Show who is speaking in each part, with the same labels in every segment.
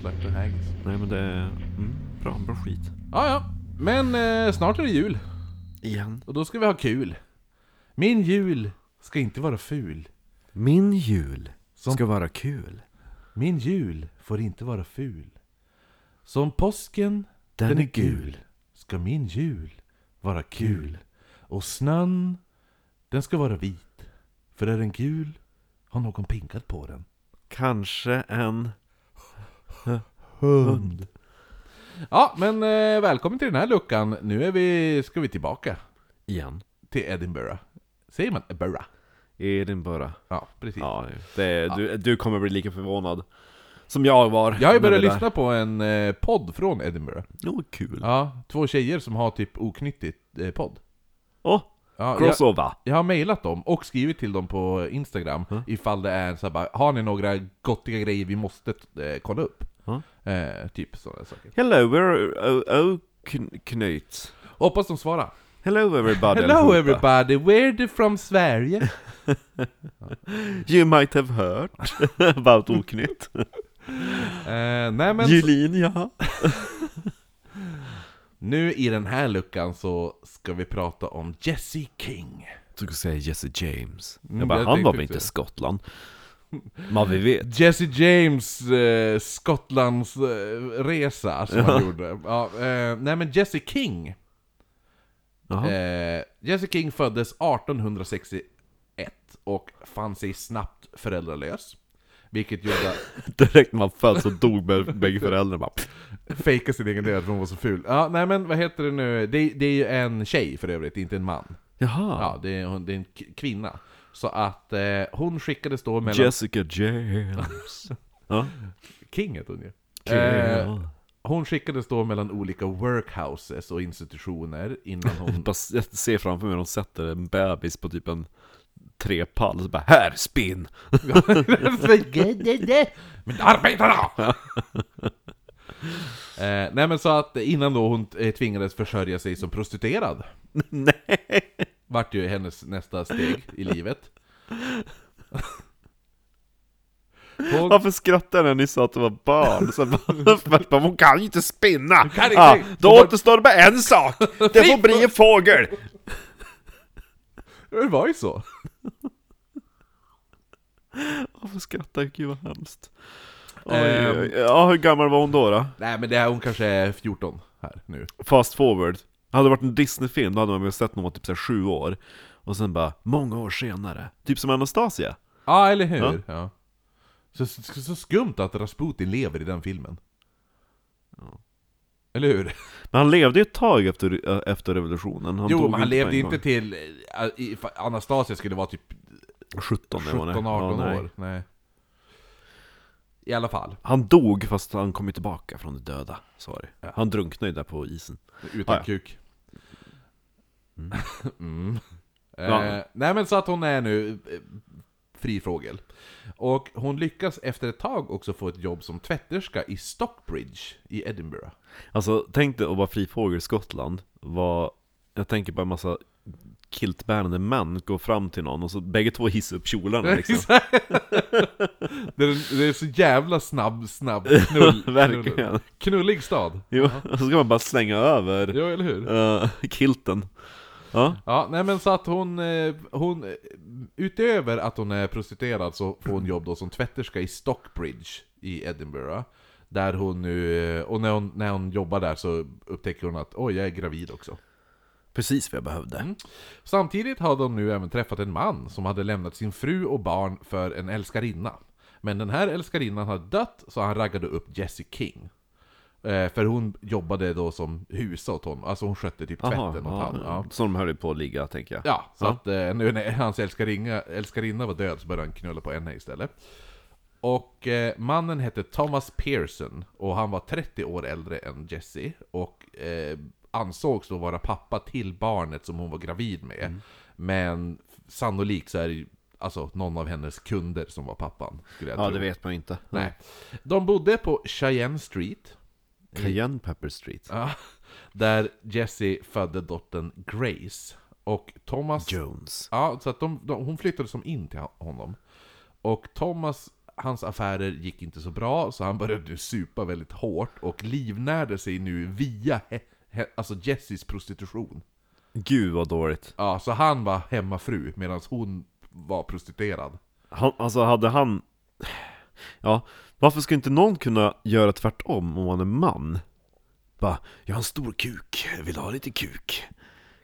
Speaker 1: Slaktar haggis. Nej men det är... Mm, bra, bra skit.
Speaker 2: Ja, ja. Men eh, snart är det jul.
Speaker 1: Igen.
Speaker 2: Och då ska vi ha kul. Min jul ska inte vara ful.
Speaker 1: Min jul
Speaker 2: Som-
Speaker 1: ska vara kul.
Speaker 2: Min jul får inte vara ful. Som påsken,
Speaker 1: Den
Speaker 2: den,
Speaker 1: är
Speaker 2: är gul.
Speaker 1: gul.
Speaker 2: Ska min jul vara kul. Och snön, den ska vara vit. För är den gul har någon pinkat på den.
Speaker 1: Kanske en...
Speaker 2: Hund. Ja, men eh, välkommen till den här luckan. Nu är vi, ska vi tillbaka
Speaker 1: Igen.
Speaker 2: till Edinburgh. Säger man Edinburgh?
Speaker 1: Edinburgh.
Speaker 2: Ja, precis.
Speaker 1: Ja, det, är- du, du kommer bli lika förvånad. Som jag var.
Speaker 2: Jag har ju
Speaker 1: med
Speaker 2: börjat
Speaker 1: det där.
Speaker 2: lyssna på en eh, podd från Edinburgh.
Speaker 1: Åh, kul.
Speaker 2: Ja, två tjejer som har typ oknyttigt eh, podd.
Speaker 1: Åh,
Speaker 2: Ja, jag,
Speaker 1: crossover.
Speaker 2: jag har mejlat dem och skrivit till dem på Instagram
Speaker 1: Mm.
Speaker 2: ifall det är så här, bara, har ni några gottiga grejer vi måste eh, kolla upp?
Speaker 1: Mm.
Speaker 2: Eh, typ sådana saker.
Speaker 1: Hello, we're oh, Knut.
Speaker 2: Hoppas de svarar.
Speaker 1: Hello everybody.
Speaker 2: Hello
Speaker 1: allihopa.
Speaker 2: everybody, where the from Sverige?
Speaker 1: You might have heard about Oknytt.
Speaker 2: eh, nej men
Speaker 1: Julin, ja.
Speaker 2: nu i den här luckan så ska vi prata om Jesse King.
Speaker 1: Du skulle säga Jesse James.
Speaker 2: Mm,
Speaker 1: jag bara,
Speaker 2: jag
Speaker 1: han
Speaker 2: tänkte
Speaker 1: var väl
Speaker 2: också
Speaker 1: inte
Speaker 2: det.
Speaker 1: Skottland? Men vi vet.
Speaker 2: Jesse James eh, Skottlands eh, resa som han gjorde. Ja, eh, nej men Jesse King.
Speaker 1: Jaha.
Speaker 2: Eh, Jesse King föddes 1861 och fann sig snabbt föräldralös. Vilket gjorde att
Speaker 1: Direkt när man föddes så dog bä- bägge föräldrarna bara. pff.
Speaker 2: fejka sin egen död för hon var så ful. Ja, nej men vad heter det nu? Det, det är ju en tjej för övrigt, inte en man.
Speaker 1: Jaha.
Speaker 2: Ja, det är, hon- det är en k- kvinna. Så att eh, hon skickades då mellan...
Speaker 1: Jessica James. ja.
Speaker 2: King heter hon ju.
Speaker 1: Kul.
Speaker 2: Eh, hon skickades då mellan olika workhouses och institutioner innan hon...
Speaker 1: Bara s- Jag ser framför mig, de sätter en bebis på typ en trepall, så bara här, spinn!
Speaker 2: Men arbetarna! eh, nej men så att innan då hon eh, tvingades försörja sig som prostituerad.
Speaker 1: Nej!
Speaker 2: Vart ju hennes nästa steg i livet. Hon
Speaker 1: Varför skrattade jag när ni sa att det var barn? Så bara, först bara, hon kan ju inte spinna!
Speaker 2: kan inte.
Speaker 1: ja, då återstår det bara en sak! Det får bli en fågel!
Speaker 2: Det var ju så.
Speaker 1: Varför skrattar jag? Gud vad hemskt. Oj,
Speaker 2: Ehm.
Speaker 1: oj, oj. Ja, hur gammal var hon då? då?
Speaker 2: Nej men det här, hon kanske är 14 här nu.
Speaker 1: Fast forward. Hade det varit en Disney-film, då hade man väl sett när hon var typ så här sju år. Och sen bara, många år senare. Typ som Anastasia.
Speaker 2: Ja, eller hur? Ja. Så, så, så skumt att Rasputin lever i den filmen. Eller hur?
Speaker 1: Men han levde ju ett tag efter, äh, efter revolutionen. Han
Speaker 2: jo, men
Speaker 1: dog ju
Speaker 2: han
Speaker 1: på
Speaker 2: levde
Speaker 1: en
Speaker 2: inte
Speaker 1: gång.
Speaker 2: till... eh, i- ifall Anastasia skulle vara typ
Speaker 1: 17,
Speaker 2: 17, 18
Speaker 1: nej.
Speaker 2: år. Nej. I alla fall.
Speaker 1: Han dog fast han kom ju tillbaka från de döda, sa det.
Speaker 2: Ja.
Speaker 1: Han drunknade ju där på isen.
Speaker 2: Utan
Speaker 1: Ah, ja.
Speaker 2: kuk. Mm.
Speaker 1: Ja.
Speaker 2: Eh, nej men så att hon är nu eh, fri fågel. Och hon lyckas efter ett tag också få ett jobb som tvätterska i Stockbridge i Edinburgh.
Speaker 1: Alltså, tänk dig att vara frifågel i Skottland, var, jag tänker bara en massa kiltbärande män går fram till någon och så bägge två hissar upp kjolarna liksom.
Speaker 2: det, är, det är så jävla snabb, snabb knull, knull,
Speaker 1: Verkligen.
Speaker 2: knullig stad.
Speaker 1: Jo, och så ska man bara slänga över
Speaker 2: Ja, eller hur?
Speaker 1: eh, kilten. Ja,
Speaker 2: Ja, nej men så att hon, eh, hon, eh, utöver att hon är prostituerad så får hon jobb då som tvätterska i Stockbridge i Edinburgh. Där hon nu, eh, och när hon, när hon jobbar där så upptäcker hon att oj, jag är gravid också.
Speaker 1: precis vad jag behövde.
Speaker 2: Mm. Samtidigt hade hon nu även träffat en man som hade lämnat sin fru och barn för en älskarinna. Men den här älskarinnan hade dött så han raggade upp Jessie King. Eh, för hon jobbade då som husa åt honom, alltså hon skötte typ tvätten
Speaker 1: Aha,
Speaker 2: åt
Speaker 1: ja,
Speaker 2: honom. Ja.
Speaker 1: Så de höll ju på att ligga, tänker jag.
Speaker 2: Ja, så att eh, nu när hans älskaringa, älskarinna var död så började han knulla på henne istället. Och eh, mannen hette Thomas Pearson och han var 30 år äldre än Jesse och eh, ansågs då
Speaker 1: Mm.
Speaker 2: vara pappa till barnet som hon var gravid med. Men sannolikt så är det ju Alltså någon av hennes kunder som var pappan, skulle jag
Speaker 1: Ja,
Speaker 2: tro.
Speaker 1: det vet man ju inte.
Speaker 2: Nej. De bodde på Cheyenne Street,
Speaker 1: Cayenne Pepper Street.
Speaker 2: ja, där Jesse födde dottern Grace. Och Thomas...
Speaker 1: Jones.
Speaker 2: Ja, så att de, de, hon flyttade som in till honom. Och Thomas, hans affärer gick inte så bra, så han började nu supa väldigt hårt och livnärde sig nu via he, he, alltså Jessys prostitution.
Speaker 1: Gud vad dåligt.
Speaker 2: Ja, så han var hemmafru medan hon var prostituerad.
Speaker 1: Han, alltså hade han... Ja, varför ska inte någon kunna göra tvärtom om man är man? Bara, jag har en stor kuk, vill du ha lite kuk?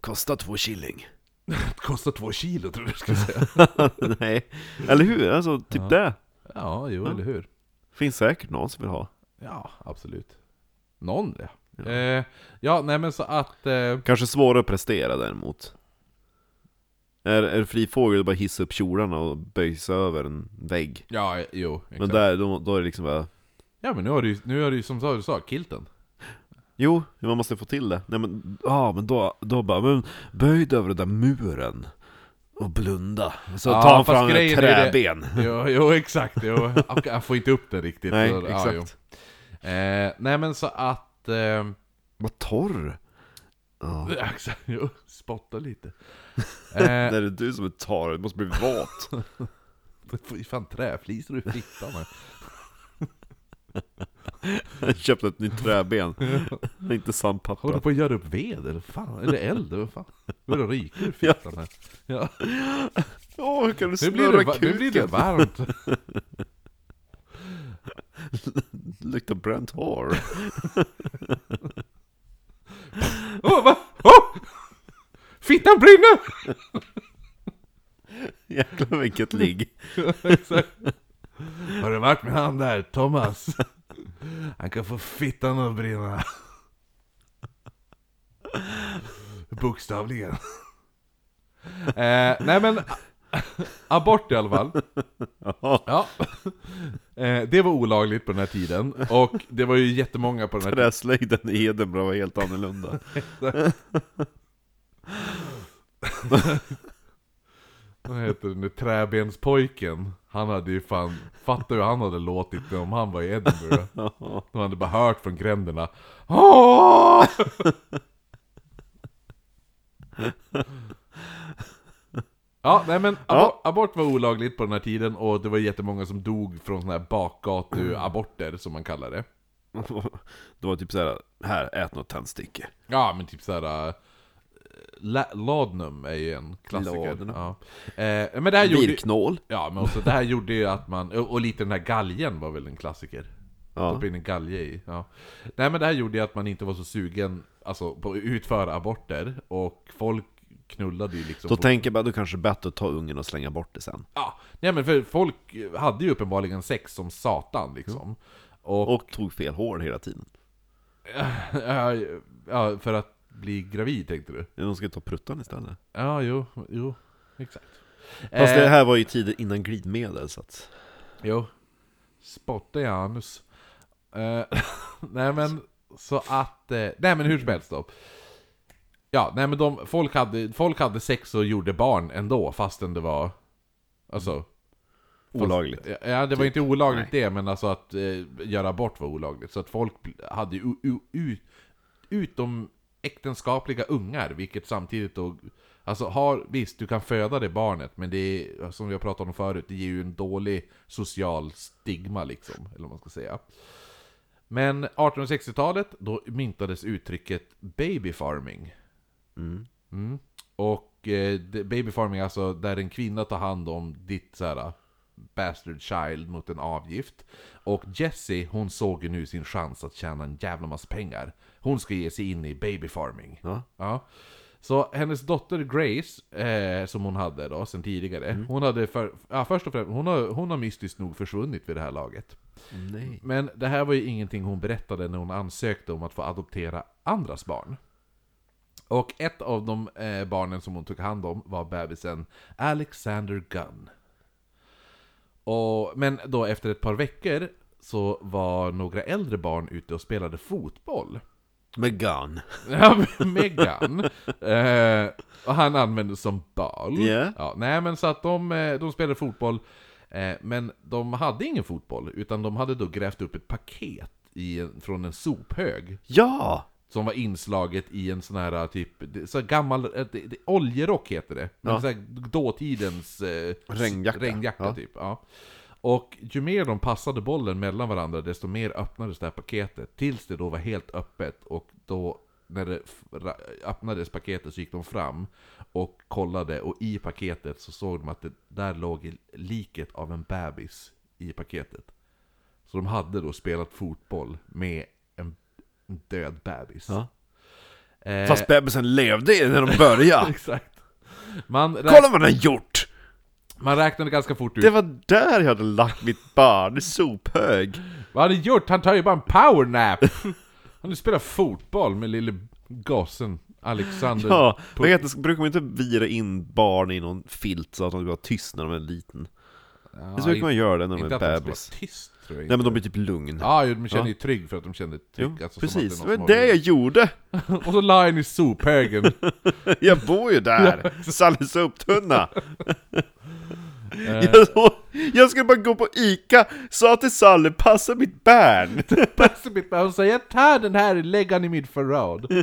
Speaker 1: Kostar två shilling.
Speaker 2: Kostar två kilo tror jag du skulle säga.
Speaker 1: Nej, eller hur? Alltså typ det.
Speaker 2: Ja, jo, eller hur.
Speaker 1: Finns säkert någon som vill ha.
Speaker 2: Ja, absolut. Någon ja. Ja, eh, ja nej men så att... Eh,
Speaker 1: Kanske svårare att prestera däremot. Är, är fri fågel bara hissa upp kjolarna och böjs över en vägg.
Speaker 2: ja, jo. Exakt.
Speaker 1: Men där, då, då är det liksom bara...
Speaker 2: Ja men nu har du ju- nu har du ju som du sa, kilten.
Speaker 1: Jo, man måste få till det. Nej men, ja men då, då bara, men böj dig över den där muren. Och blunda. Så
Speaker 2: Ja,
Speaker 1: tar han
Speaker 2: fast
Speaker 1: fram ett
Speaker 2: grejen är det-
Speaker 1: träben.
Speaker 2: Jo, jo exakt. Jo. Han- Han får inte upp det riktigt.
Speaker 1: Nej,
Speaker 2: så, ja, jo.
Speaker 1: exakt.
Speaker 2: eh, nej men så att... Eh,
Speaker 1: Vad torr. Ja.
Speaker 2: exakt, jo, spotta lite. Eh,
Speaker 1: Det är du som är torr, du måste bli våt.
Speaker 2: du får ju fan träflisor i fittan. här.
Speaker 1: Jag köpte ett nytt träben. Inte
Speaker 2: Håller du
Speaker 1: sandpapper.
Speaker 2: på att göra upp ved eller fan? Eller eld? Vad fan? Börjar det ryka ur fittan här. Ja.
Speaker 1: Åh, hur kan du
Speaker 2: Nu, blir det,
Speaker 1: snurra
Speaker 2: va- nu blir det
Speaker 1: kuken?
Speaker 2: varmt.
Speaker 1: Luktar bränt hår.
Speaker 2: Åh, va? Åh! Fittan brinner!
Speaker 1: Jäklar vilket ligg.
Speaker 2: Exakt. Har du varit med han där, Thomas? Han kan få fittan att brinna. Bokstavligen. Eh, nej men, abort i alla fall. Ja. Eh, det var olagligt på den här tiden, och det var ju jättemånga på den här tiden.
Speaker 1: Träslöjden i Edinburgh var helt annorlunda.
Speaker 2: Vad heter den nu? Träbenspojken. Han hade ju fan, fatta hur han hade låtit om han var i Edinburgh. De hade bara hört från gränderna. Åh! Ja, nej men abor-
Speaker 1: Ja.
Speaker 2: abort var olagligt på den här tiden och det var jättemånga som dog från såna här bakgatuaborter som man kallar det.
Speaker 1: Det var typ såhär, här, ät något tändstickor.
Speaker 2: Ja, men typ såhär... äh, La- Laudanum är ju en klassiker.
Speaker 1: Laudanum.
Speaker 2: Ja. Eh, men det här gjorde,
Speaker 1: Virknål.
Speaker 2: ja, men också, det här gjorde ju att man... Och och lite den här galgen var väl en klassiker.
Speaker 1: Ja.
Speaker 2: Stoppa in en galge i. Ja. Nej men det här gjorde ju att man inte var så sugen alltså, på att utföra aborter, och folk knullade ju liksom...
Speaker 1: Då
Speaker 2: på-
Speaker 1: tänker jag bara, då kanske det är bättre att ta ungen och slänga bort det sen.
Speaker 2: ja, nej men för folk hade ju uppenbarligen sex som satan liksom. Och,
Speaker 1: Mm. Och tog fel hår hela tiden.
Speaker 2: ja, ja, för att bli gravid tänkte du?
Speaker 1: De ska ta pruttan istället.
Speaker 2: Ja, jo, jo, exakt.
Speaker 1: Fast
Speaker 2: Eh,
Speaker 1: det här var ju tiden innan glidmedel så att...
Speaker 2: Jo. Spotta i anus. Eh, nej men, så att... eh, nej men hur som helst då. Ja, nej men de, folk, hade, folk hade sex och gjorde barn ändå fastän det var... Alltså... fast-
Speaker 1: Olagligt.
Speaker 2: ja, det var inte olagligt det, men alltså att eh, göra abort var olagligt. Så att folk hade ju u- u- u- utom äktenskapliga ungar, vilket samtidigt då... Alltså har, visst, du kan föda det barnet, men det är, som vi har pratat om förut, det ger ju en dålig social stigma liksom, eller vad man ska säga. Men 1860-talet, då myntades uttrycket baby farming. Mm. Och eh, det- baby farming, alltså där en kvinna tar hand om ditt så här, bastard child mot en avgift. Och Jessie, hon såg ju nu sin chans att tjäna en jävla massa pengar. Hon ska ge sig in i baby farming.
Speaker 1: Ja.
Speaker 2: Så hennes dotter Grace, eh, som hon hade då sen tidigare, hon hade för, ja, först och främst, hon har, hon har mystiskt nog försvunnit vid det här laget.
Speaker 1: Nej.
Speaker 2: Men det här var ju ingenting hon berättade när hon ansökte om att få adoptera andras barn. Och ett av de eh, barnen som hon tog hand om var bebisen Alexander Gunn. Och, men då efter ett par veckor så var några äldre barn ute och spelade fotboll.
Speaker 1: Megan.
Speaker 2: Ja, Megan. Eh, och han användes som bal.
Speaker 1: Ja.
Speaker 2: Ja, nej, men så att de, eh, de spelade fotboll, eh, men de hade ingen fotboll, utan de hade då grävt upp ett paket i, en- från en sophög.
Speaker 1: Ja!
Speaker 2: Som var inslaget i en sån här typ, det- så här gammal, eh, det, det, oljerock heter det. Men
Speaker 1: Ja.
Speaker 2: så här, dåtidens eh,
Speaker 1: Regnjacka.
Speaker 2: regnjacka
Speaker 1: Ja.
Speaker 2: typ. Ja. Och ju mer de passade bollen mellan varandra, desto mer öppnades det här paketet. Tills det då var helt öppet och då när det f- ra- öppnades paketet så gick de fram och kollade och i paketet så såg de att det där låg liket av en bebis i paketet. Så de hade då spelat fotboll med en en död bebis.
Speaker 1: Ja.
Speaker 2: Eh,
Speaker 1: Fast bebisen levde när de började.
Speaker 2: Exakt. Man, räk-
Speaker 1: Kolla vad den har gjort!
Speaker 2: Mm. man räknade ganska fort ut.
Speaker 1: Det var där jag hade lagt mitt barn, i sophög.
Speaker 2: Vad har du gjort? Han tar ju bara en powernap! Han nu spelar fotboll med lille gossen Alexander.
Speaker 1: Ja, vad heter, det? brukar man inte vira in barn i någon filt så att de ska vara tyst när de är liten?
Speaker 2: Ja,
Speaker 1: Det så brukar man göra det när de
Speaker 2: inte
Speaker 1: är
Speaker 2: att han spelar
Speaker 1: bebis.
Speaker 2: tyst tror jag
Speaker 1: Nej
Speaker 2: inte.
Speaker 1: men de blir typ lugn.
Speaker 2: Ja, jo, de känner ju trygg för att de kände trygg.
Speaker 1: Jo,
Speaker 2: alltså, som
Speaker 1: precis.
Speaker 2: att
Speaker 1: Det var
Speaker 2: någon
Speaker 1: det
Speaker 2: som
Speaker 1: jag gjorde!
Speaker 2: har- Och så la han i sophögen.
Speaker 1: Jag bor ju där! Sallingsuptunna!
Speaker 2: Eh.
Speaker 1: jag, jag skulle bara gå på Ica, sa till Salle 'passa mitt barn'
Speaker 2: Hon säger jag tar den här och lägger den i mitt förråd.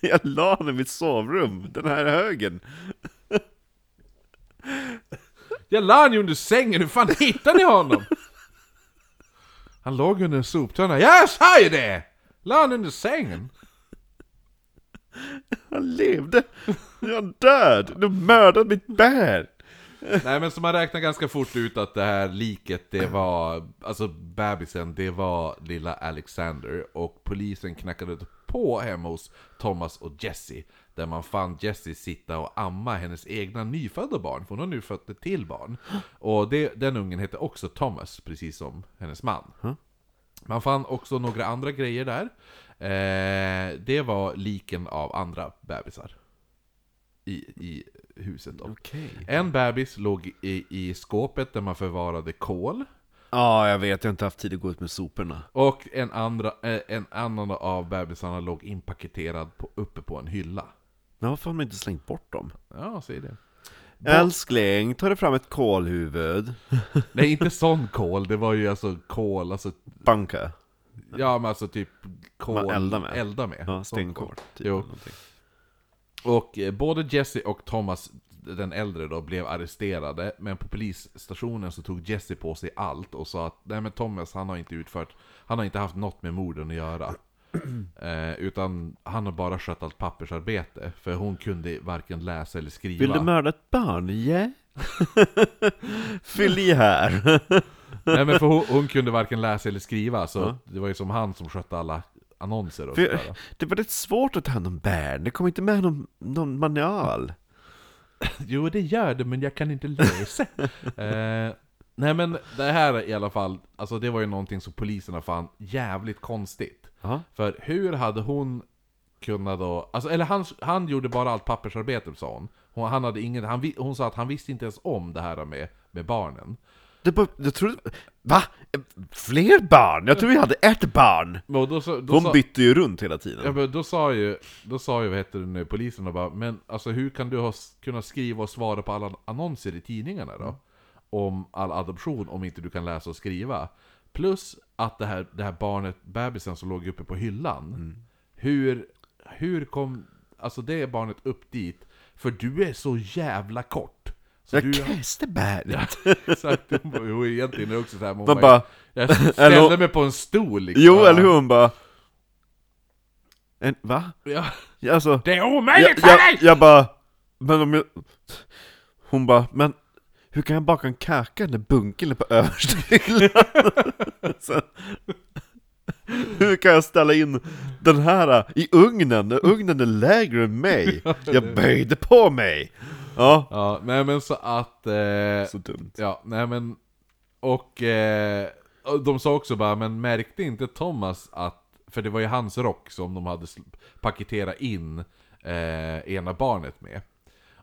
Speaker 1: Jag la den i mitt sovrum, den här högen.
Speaker 2: Jag la han ju under sängen, hur fan hittade ni honom? Han låg under en soptunna, jag sa ju det! La han under sängen?
Speaker 1: Han levde! Nu är han död! Du mördade mitt barn!
Speaker 2: Nej men så man räknar ganska fort ut att det här liket, det var, alltså bebisen, det var lilla Alexander och polisen knackade på hemma hos Thomas och Jesse där man fann Jesse sitta och amma hennes egna nyfödda barn, för hon har nu fött ett till barn. Och det, den ungen hette också Thomas, precis som hennes man. Man fann också några andra grejer där. Eh, det var liken av andra bebisar. I, i huset då.
Speaker 1: Okej.
Speaker 2: En bebis låg i, i skåpet där man förvarade kol.
Speaker 1: Ja, jag vet, jag har inte haft tid att gå ut med soporna.
Speaker 2: Och en, andra, eh, en annan av bebisarna låg inpaketerad på, uppe på en hylla.
Speaker 1: Men varför har man inte slängt bort dem?
Speaker 2: Ja, säg det.
Speaker 1: Älskling, ta dig fram ett kolhuvud.
Speaker 2: Nej, inte sån kol. Det var ju alltså kol, alltså,
Speaker 1: Banka.
Speaker 2: ja men alltså typ kol...
Speaker 1: Man eldar med.
Speaker 2: Elda med.
Speaker 1: Ja,
Speaker 2: Sån kol.
Speaker 1: stenkol. Typ,
Speaker 2: Jo.
Speaker 1: eller någonting.
Speaker 2: Och eh, både Jesse och Thomas, den äldre då, blev arresterade. Men på polisstationen så tog Jesse på sig allt och sa att Nej men Thomas, han har inte utfört, han har inte haft något med morden att göra. Eh, utan han har bara skött allt pappersarbete. För hon kunde varken läsa eller skriva.
Speaker 1: Vill du mörda ett barn? Ja? Fyll i här.
Speaker 2: Nej men för hon, hon kunde varken läsa eller skriva. Så det var ju som han som skötte alla annonser och
Speaker 1: För,
Speaker 2: sådär.
Speaker 1: det var rätt svårt att ta hand om barn, det kom inte med någon, någon manual.
Speaker 2: Jo, det gör det, men jag kan inte läsa. eh, nej, men det här i alla fall, alltså det var ju någonting som poliserna fann jävligt konstigt.
Speaker 1: Ja.
Speaker 2: För hur hade hon kunnat då, alltså, eller han, han gjorde bara allt pappersarbete sa hon. Hon, han hade ingen, han, vi- hon sa att han visste inte ens om det här med, med barnen.
Speaker 1: Det bara, jag trodde... Va? Fler barn? Jag tror vi hade ett barn!
Speaker 2: Men Och då, så, då,
Speaker 1: De
Speaker 2: sa,
Speaker 1: bytte ju runt hela
Speaker 2: ja,
Speaker 1: tiden.
Speaker 2: men då sa ju, då sa ju vad heter det nu, poliserna bara, men alltså hur kan du ha s- kunnat skriva och svara på alla annonser i tidningarna då? om all adoption om inte du kan läsa och skriva. Plus att det här, det här barnet, bebisen som låg uppe på hyllan.
Speaker 1: Mm.
Speaker 2: Hur, hur kom alltså det barnet upp dit? För du är så jävla kort. Så
Speaker 1: Jag
Speaker 2: du,
Speaker 1: kräste barnet.
Speaker 2: exakt, hon bara, jo, egentligen är det också så här, men hon
Speaker 1: Man bara,
Speaker 2: jag
Speaker 1: eller
Speaker 2: ställde
Speaker 1: hon-
Speaker 2: mig på en stol liksom.
Speaker 1: jo eller hur? Hon bara... En, va?
Speaker 2: Ja,
Speaker 1: Ja, Alltså,
Speaker 2: det är
Speaker 1: jag,
Speaker 2: omöjligt för
Speaker 1: jag,
Speaker 2: dig!
Speaker 1: jag bara... Men om jag... Hon bara, men... Hur kan jag baka en kaka när bunken är på översta hyllan? Så- Hur kan jag ställa in den här äh, i ugnen? när Ugnen är lägre än mig! Jag böjde på mig! Ja,
Speaker 2: Ja, nej men så att... Eh,
Speaker 1: så dumt.
Speaker 2: Ja, nej men... Och eh, och de sa också bara, men märkte inte Thomas att... För det var ju hans rock som de hade sl- paketerat in eh, ena barnet med.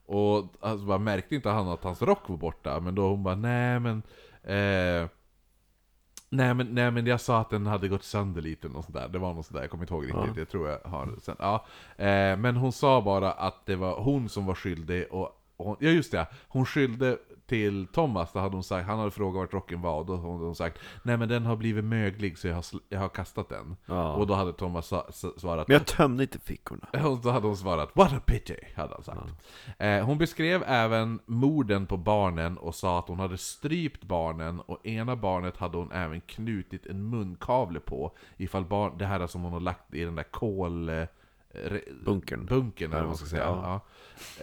Speaker 2: Och alltså bara, märkte inte han att hans rock var borta? Men då hon bara, nej men... Eh, Nej men, nej men jag sa att den hade gått sönder lite eller något sånt där. Det var något sånt där, jag kommer inte ihåg riktigt. Jag tror jag har sen. Ja. Eh, men hon sa bara att det var hon som var skyldig och, och hon, ja just det, hon skyllde till Thomas, då hade hon sagt, han hade frågat vart rocken var och då hade hon sagt Nej men den har blivit möglig så jag har, sl- jag har kastat den.
Speaker 1: Ja.
Speaker 2: Och då hade Thomas sa, s- svarat
Speaker 1: Men jag tömde inte fickorna.
Speaker 2: och då hade hon svarat 'What a pity' hade han sagt. Eh, hon beskrev även morden på barnen och sa att hon hade strypt barnen och ena barnet hade hon även knutit en munkavle på. Ifall barn, det här som hon har lagt i den där kol... eh, re-
Speaker 1: Bunkern.
Speaker 2: Bunkern eller vad man ska säga. Ja.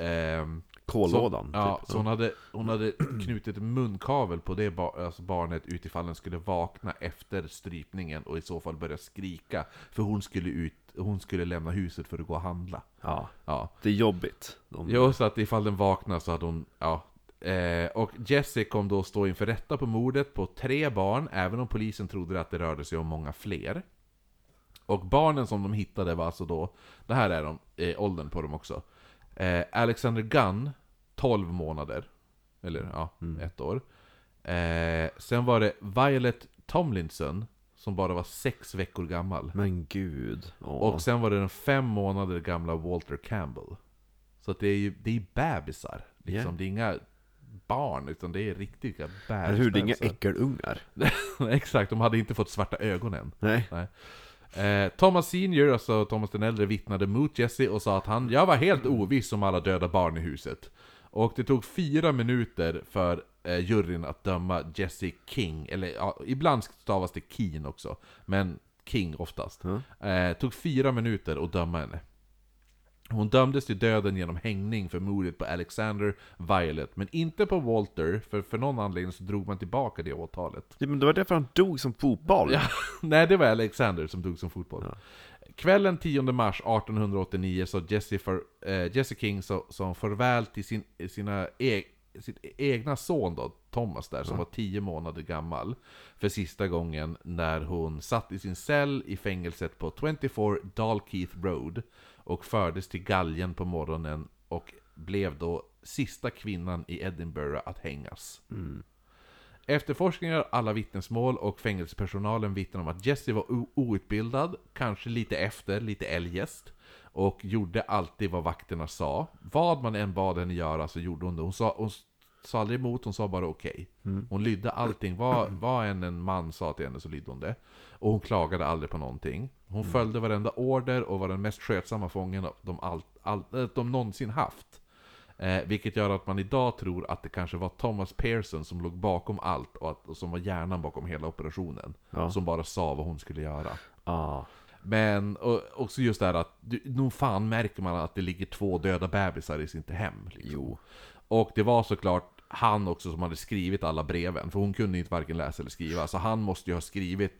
Speaker 2: Ehm,
Speaker 1: Kollådan.
Speaker 2: så, ja,
Speaker 1: typ.
Speaker 2: så hon hade, hon hade knutit en munkavel på det bar, alltså barnet utifall den skulle vakna efter strypningen och i så fall börja skrika. För hon skulle, ut, hon skulle lämna huset för att gå och handla.
Speaker 1: ja.
Speaker 2: Ja.
Speaker 1: Det är jobbigt. De...
Speaker 2: Jo, så att ifall den vaknar så hade hon, ja. Eh, och Jesse kom då stå inför rätta på mordet på tre barn, även om polisen trodde att det rörde sig om många fler. Och barnen som de hittade var alltså då, det här är de, eh, åldern på dem också. Eh, Alexander Gunn, 12 månader. Eller ja, ett år. Eh, sen var det Violet Tomlinson, som bara var sex veckor gammal.
Speaker 1: Men gud. Ja.
Speaker 2: Och sen var det den fem månader gamla Walter Campbell. Så att det är ju det är ju bebisar. Liksom.
Speaker 1: Ja.
Speaker 2: Det är inga barn, utan det är riktiga
Speaker 1: Eller
Speaker 2: bebis-
Speaker 1: hur? Det är inga
Speaker 2: bebisar.
Speaker 1: äckelungar.
Speaker 2: Exakt, de hade inte fått svarta ögon än.
Speaker 1: Nej.
Speaker 2: Nej. Eh, Thomas Senior, alltså Thomas den äldre, vittnade mot Jesse och sa att han Jag var helt oviss om alla döda barn i huset. Och det tog fyra minuter för eh, juryn att döma Jesse King, eller ja, ibland stavas det Keen också, men King oftast. Eh, tog fyra minuter att döma henne. Hon dömdes till döden genom hängning för mordet på Alexander Violet, men inte på Walter, för för någon anledning så drog man tillbaka det åtalet.
Speaker 1: Ja, Men det var därför han dog som fotboll.
Speaker 2: Ja, nej, det var Alexander som dog som fotboll. Kvällen 10 mars 1889 sa Jesse, för, eh, Jesse King så, som förväl till sin, sina e, sin egna son då, Thomas där, som var 10 månader gammal. För sista gången när hon satt i sin cell i fängelset på 24 Dalkeith Road och fördes till galgen på morgonen och blev då sista kvinnan i Edinburgh att hängas. Efterforskningar, alla vittnesmål och fängelsepersonalen vittnar om att Jesse var o- outbildad, kanske lite efter, lite eljest. Och gjorde alltid vad vakterna sa. Vad man än bad henne göra så gjorde hon det. Hon sa, hon s- sa aldrig emot, hon sa bara okej. Hon lydde allting. Vad, vad än en man sa till henne så lydde hon det. Och hon klagade aldrig på någonting. Hon följde varenda order och var den mest skötsamma fången av- de, all, all, eh, de någonsin haft. Eh, vilket gör att man idag tror att det kanske var Thomas Pearson som låg bakom allt och, att, och som var hjärnan bakom hela operationen.
Speaker 1: Ja.
Speaker 2: Som bara sa vad hon skulle göra.
Speaker 1: Ah.
Speaker 2: Men och, också just det här att du, nog fan märker man att det ligger två döda bebisar i sitt hem. Liksom. Jo. Och det var såklart han också som hade skrivit alla breven, för hon kunde inte varken läsa eller skriva. Så han måste ju ha skrivit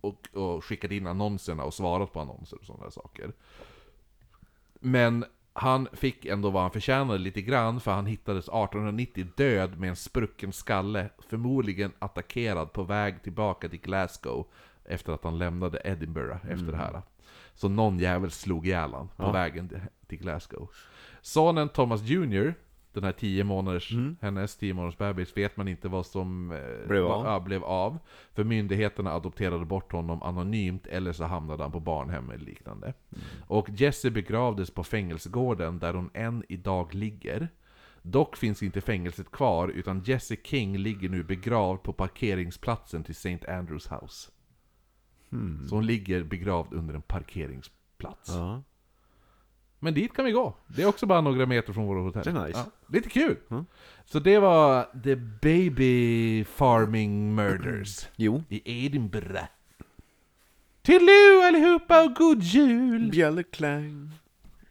Speaker 2: och, och skickat in annonserna och svarat på annonser och sådana där saker. Men han fick ändå vad han förtjänade lite grann för han hittades 1890 död med en sprucken skalle, förmodligen attackerad på väg tillbaka till Glasgow efter att han lämnade Edinburgh efter det
Speaker 1: Mm.
Speaker 2: här. Så någon jävel slog ihjäl han på vägen till Glasgow. Sonen Thomas Jr, den här 10 månaders, hennes 10 månaders bebis, vet man inte vad som eh,
Speaker 1: Mm. Blev
Speaker 2: va-
Speaker 1: av.
Speaker 2: ja, blev av. För myndigheterna adopterade bort honom anonymt eller så hamnade han på barnhem eller liknande.
Speaker 1: Mm.
Speaker 2: Och Jesse begravdes på fängelsegården där hon än idag ligger. Dock finns inte fängelset kvar utan Jesse King ligger nu begravd på parkeringsplatsen till St. Andrews House. Så hon ligger begravd under en parkeringsplats.
Speaker 1: Hmm. Ja.
Speaker 2: Men dit kan vi gå. Det är också bara några meter från vårt hotell.
Speaker 1: Det är nice.
Speaker 2: lite kul! Så det var The Baby Farming Murders
Speaker 1: Jo.
Speaker 2: i Edinburgh. Tillu allihopa och god jul!
Speaker 1: Bjällerklang.